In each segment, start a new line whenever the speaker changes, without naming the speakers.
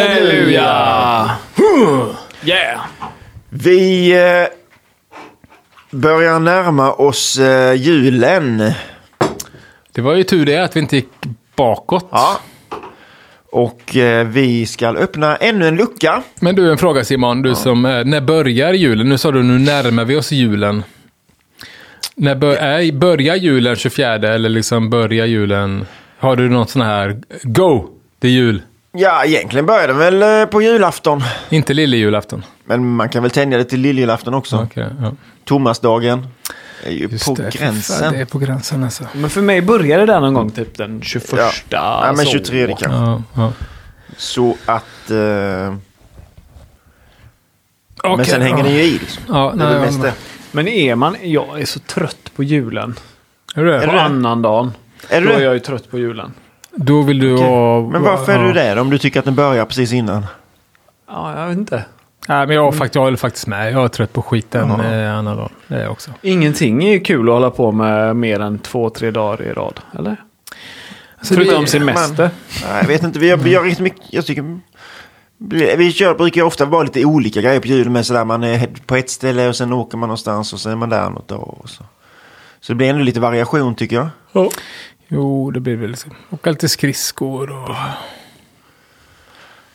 Halleluja! Yeah!
Vi eh, börjar närma oss eh, julen.
Det var ju tur det att vi inte gick bakåt.
Ja. Och eh, vi ska öppna ännu en lucka.
Men du, en fråga Simon. Du som, eh, när börjar julen? Nu sa du nu närmar vi oss julen. När bör, är, börjar julen 24 eller liksom börjar julen? Har du något sån här go? Det är jul.
Ja, egentligen börjar den väl eh, på julafton.
Inte lillejulaften.
Men man kan väl tänja det till lilljulafton också.
Okej, ja.
Tomasdagen är ju på
det, för fan,
gränsen.
Det är på gränsen alltså.
Men för mig började det där någon gång typ den alltså. 21.
Ja. ja, men
så.
23 kanske.
Ja, ja.
Så att... Eh, men
Okej,
sen hänger
ja.
den ju i liksom.
Ja,
Det är
nej,
väl mest det.
Men är man... Jag är så trött på julen.
Är du det?
Är
På
du det?
annan dagen.
Är du
Då är
det?
jag ju trött på julen.
Då vill du ha...
Men varför är
ja.
du det då, om du tycker att den börjar precis innan?
Ja, jag vet inte.
Nej, men jag,
Mm.
har fakt- jag håller faktiskt med. Jag är trött på skiten eh, annan dag. Det är jag också.
Ingenting är ju kul att hålla på med mer än två, tre dagar i rad. Eller? Förutom
Alltså,
det-
semester.
Nej, jag vet inte. Vi gör, vi gör riktigt mycket. Jag tycker... Vi kör, brukar ofta vara lite olika grejer på julen. Men sådär, man är på ett ställe och sen åker man någonstans och sen är man där något dag. Och så. så det blir ändå lite variation tycker jag.
Jo, det blir väl liksom. Åka lite skridskor och...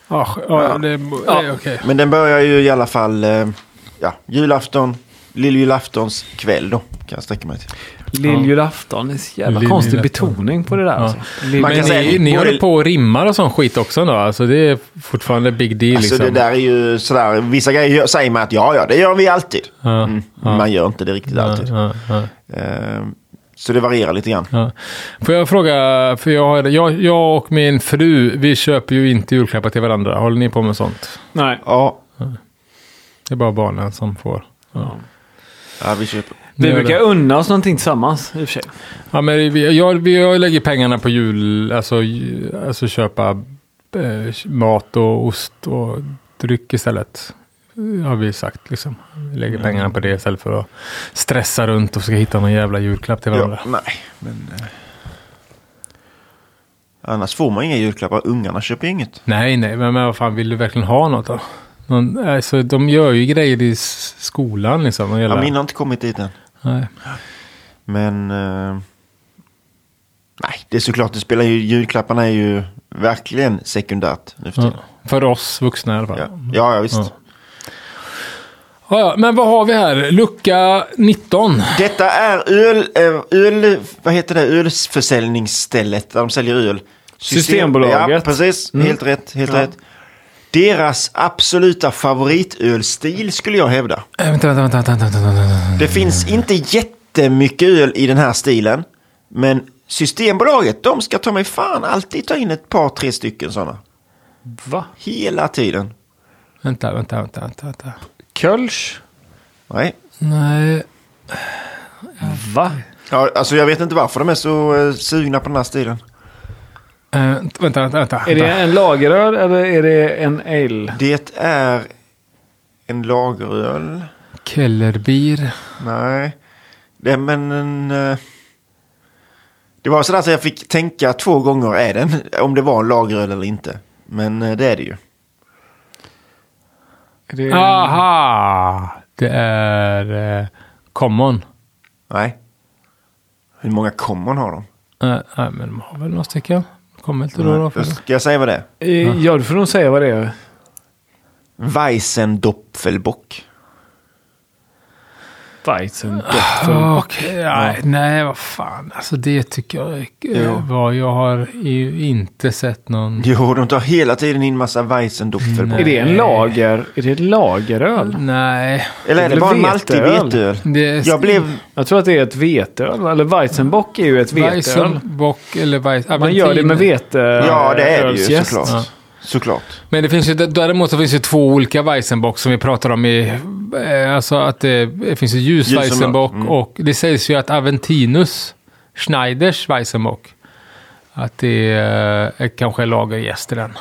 Ja, sk- ja, det, ja. det är okej.
Men den börjar ju i alla fall eh, ja, julafton, lilljulaftons kväll då. Kan jag sträcka mig till.
Lilljulafton. Det är så jävla
Lilljulafton.
konstig betoning på det där. Alltså. Lill-
Man
Men
kan säga
ni,
att
ni
både-
håller på och rimmar och sån skit också då? Alltså det är fortfarande big deal
Alltså
liksom.
det där är ju sådär, vissa grejer gör- säger man att ja, ja, det gör vi alltid.
Ja,
Mm, Man gör inte det riktigt alltid.
Ja, ja, ja,
Eh, så det varierar lite grann.
ja. Får jag fråga, för jag, har- jag, jag och min fru, vi köper ju inte julklappar till varandra. Håller ni på med sånt?
Nej.
Ja,
Det är bara barnen som får. Ja.
ja vi köper.
Vi
Gör det.
brukar unna oss någonting tillsammans i och för sig.
Ja, men vi, jag, vi, jag lägger pengarna på jul, alltså, ju- alltså köpa eh, mat och ost och dryck istället. Har vi sagt liksom. Vi
Mm.
lägger pengarna på det istället för att stressa runt och försöka hitta någon jävla julklapp till varandra.
Ja, nej, men... Eh, annars får man inga julklappar. Ungarna köper ju inget.
Nej, nej, men, men vad fan vill du verkligen ha något då? Någon, alltså, de gör ju grejer i s- skolan liksom. och
Ja,
hela-
min har inte kommit dit än.
nej.
Men... Eh, nej, det är såklart, det spelar ju... Julklapparna är ju verkligen sekundärt nu för
ja.
tiden.
För oss vuxna i alla fall.
Ja, ja, ja visst.
Ja. Ja, ja, men vad har vi här? Lucka 19.
Detta är öl, eh, öl, vad heter det, ölförsäljningsstället där de säljer öl. System-
Systembolaget.
Ja, precis. Helt rätt, helt
Ja.
rätt. Deras absoluta favoritölstil skulle jag hävda.
Äh, vänta, vänta, vänta, vänta, vänta, vänta, vänta.
Det finns inte jättemycket öl i den här stilen. Men Systembolaget, de ska ta mig fan alltid ta in ett par, tre stycken sådana.
Va?
Hela tiden.
Vänta, vänta, vänta, vänta, vänta.
Kölsch?
Nej.
Nej.
Va?
Ja, alltså jag vet inte varför de är så eh, sugna på den här stilen.
Eh, vänta, vänta, vänta.
Är det
vänta.
en lageröl eller är det en ale?
Det är en lageröl.
Kellerbier.
Nej. Det, men en, eh, det var sådär att jag fick tänka två gånger är den, om det var en lageröl eller inte. Men eh, det är det ju.
Är det
Ah, Aha! Det är eh, common.
Nej. Hur många common har de?
Eh, nej, men de har väl några stycken. Kommer inte då. då för...
Ska jag säga vad det är?
Eh, Ja, du får nog säga vad det är.
Weissendopfelbock.
Weizen.
Ah, okej, nej, nej, vad fan. Alltså det tycker jag
Jo.
eh, var... Jag har ju inte sett någon...
Jo, de tar hela tiden in massa Weissendopfelbock.
Är det en lager? Är det ett lageröl?
Nej.
Eller är det
Det är
bara en
väl
maltig
veteöl?
veteöl?
Det är
Jag blev...
Jag tror att det är ett veteöl. Eller Weizenbock är ju ett veteöl.
Weizenbock eller Weiss...
Man gör det med vete.
Ja, det är det ju
ölsjäst.
såklart.
Ja.
Såklart.
Men det finns ju, däremot så finns det två olika Weissenbock som vi pratar om i... eh, Alltså att det, det finns ju ljus
Ljus och
Weissenbock
mörk, mm.
och det sägs ju att Aventinus, Schneiders Weissenbock, att det är, är kanske är lagerjäst i den.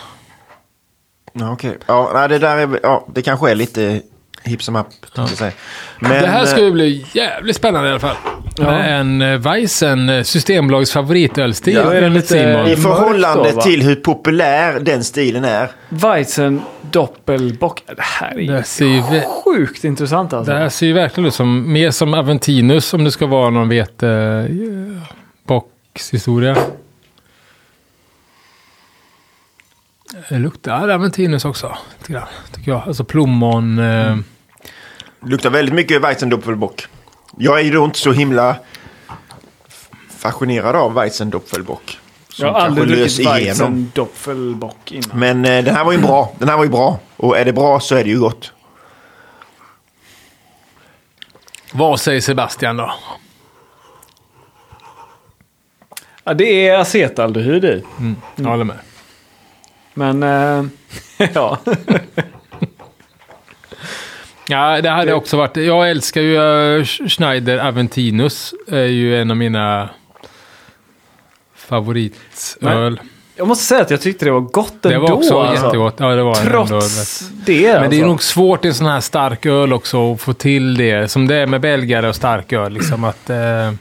Ja, okej. Ja, nej, det där är... Ja, det kanske är lite hipp som happ. tänkte jag säga. Men,
det här ska
eh,
ju bli jävligt spännande i alla fall. öppna en eh, Weissen, eh, Systembolagets favoritölstil.
Ja, är den
enligt
lite-
Simon.
är
I
mörkt
förhållande
då, va?
till hur populär den stilen är.
Weizen Doppelbock. Det här är ju
Det ser ju vä-
sjukt intressant alltså.
Det här ser ju verkligen ut som, mer som Aventinus om det ska vara någon eh, vetebockshistoria. Det luktar Aventinus också, lite grann, tycker jag. Alltså plommon... Eh,
Det luktar väldigt mycket Weizendoppelbock. Jag är ju då inte så himla fascinerad av Weizendoppelbock. Som
Jag har aldrig
kanske
druckit
lös igenom.
Weizen Doppelbock innan.
Men eh, den här var ju bra. Den här var ju bra. Och är det bra så är det ju gott.
vad säger Sebastian då?
Ja, det är acetaldehyd i.
Jag håller med.
Men eh, ja.
Ja, det hade också varit... Jag älskar ju eh, Schneider Aventinus. är ju en av mina favoritöl.
Jag måste säga att jag tyckte det var gott
Det
ändå.
var också
alltså.
jättegott. Ja, det var den ändå.
Trots det.
Men det
alltså.
är nog svårt i en sån här stark öl också att få till det. Som det är med belgare och stark öl. Liksom att, eh,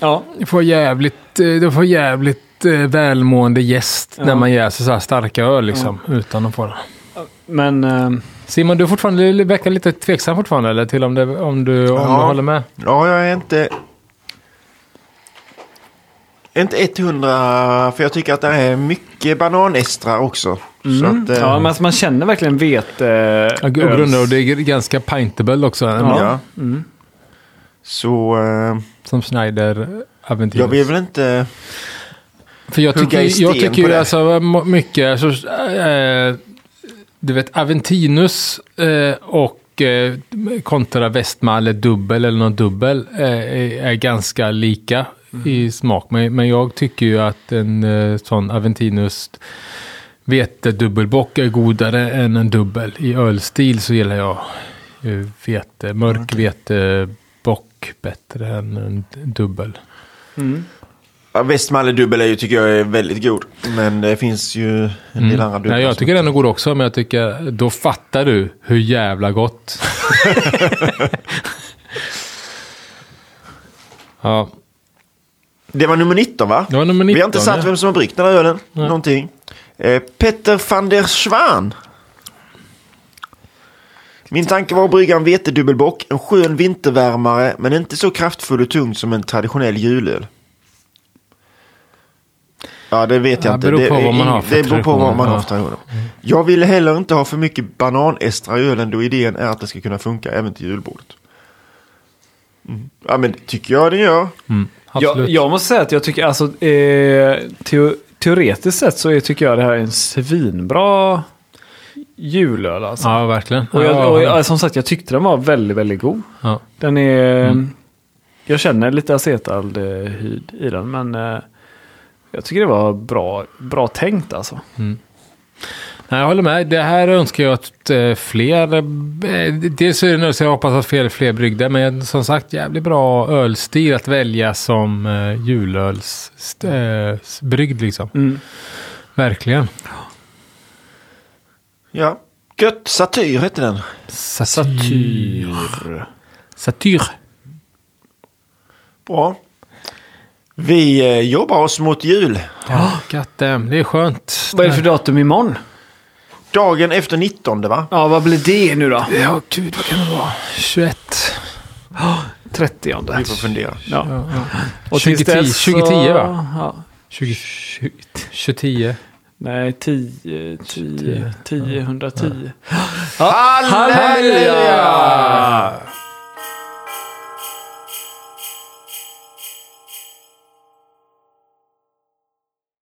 Ja.
du får jävligt, eh, du får jävligt eh, välmående gäst
Ja.
när man jäser så här starka öl. Liksom, Utan att få det.
Men eh,
Simon, du, är fortfarande, du verkar lite tveksam fortfarande eller, till om, det, om, du, om
Ja.
du håller med.
Ja, jag är inte... Inte 100, för jag tycker att det är mycket bananestrar också. Så
mm.
att, eh,
ja, men alltså, man känner verkligen eh, vete.
Ja, gud,
öls-
grundare, och det är ganska pintable också.
Ja.
ja.
Mm.
Så eh,
Som Schneider Aventinus.
jag vill väl inte...
För jag
Hugga i
tycker, jag
sten
tycker
på
ju
det.
alltså m- mycket, så, eh, du vet Aventinus eh, och eh, kontra Westmalle dubbel eller någon dubbel eh, är, är ganska lika
Mm.
i smak. Men, men jag tycker ju att en eh, sån Aventinus vetedubbelbock är godare än en dubbel. I ölstil så gillar jag ju vete, mörk
Mm.
vetebock bättre än en dubbel.
Mm.
Ja, Westmalle dubbel är ju, tycker jag är väldigt god. Men det finns ju en del
Mm.
andra dubbel.
Mm. Nej, jag tycker den är god också, men jag tycker då fattar du hur jävla gott. ja,
Det var nummer 19 va?
det var nummer 19.
Vi har inte satt
ja.
vem som har bryggt den här ölen.
Nej.
Någonting. Eh, Petter van der Schwan. Min tanke var att brygga en vetedubbelbock, en skön vintervärmare men inte så kraftfull och tung som en traditionell julöl. Ja, det vet jag
Ja,
inte.
beror
det,
på
är
vad man
ing-
har för Mm.
det beror på vad man har för
traditioner,
traditioner. Jag ville heller inte ha för mycket bananestrar i ölen då idén är att det ska kunna funka även till julbordet. Mm. Ja, men tycker jag det gör.
Mm,
Jag,
absolut.
jag måste säga att jag tycker alltså eh, teo, teoretiskt sett så är, tycker jag det här är en svinbra julöl alltså.
Ja, verkligen.
Och, jag, och
ja,
jag, som sagt, jag tyckte den var väldigt, väldigt god.
ja.
Den är...
Mm.
Jag känner lite acetaldehyd i den, men eh, jag tycker det var bra, bra tänkt
Mm.
alltså.
Nej, jag håller med. Det här önskar jag att eh, fler... eh, Dels är det nu så jag hoppas att fler, fler bryggde, men som sagt jävligt bra ölstil att välja som eh, julölsbrygd liksom.
Mm.
Verkligen.
Ja. Gött satyr heter den.
Satyr.
Ah. Satyr.
Bra. Vi eh, jobbar oss mot jul.
Ja, God damn, det är skönt.
Ah. Vad är det för datum imorgon?
Dagen efter 19 va?
Ja, vad blir det nu då?
Ja, gud, vad kan det vara? 21.
30.
Vi får fundera.
Ja.
Ja, ja.
Och tills
2010,
dess så-
2010, va?
Ja.
20, 2010.
Nej, 10, 10, 10, 110.
Halleluja!
Ah. Halleluja!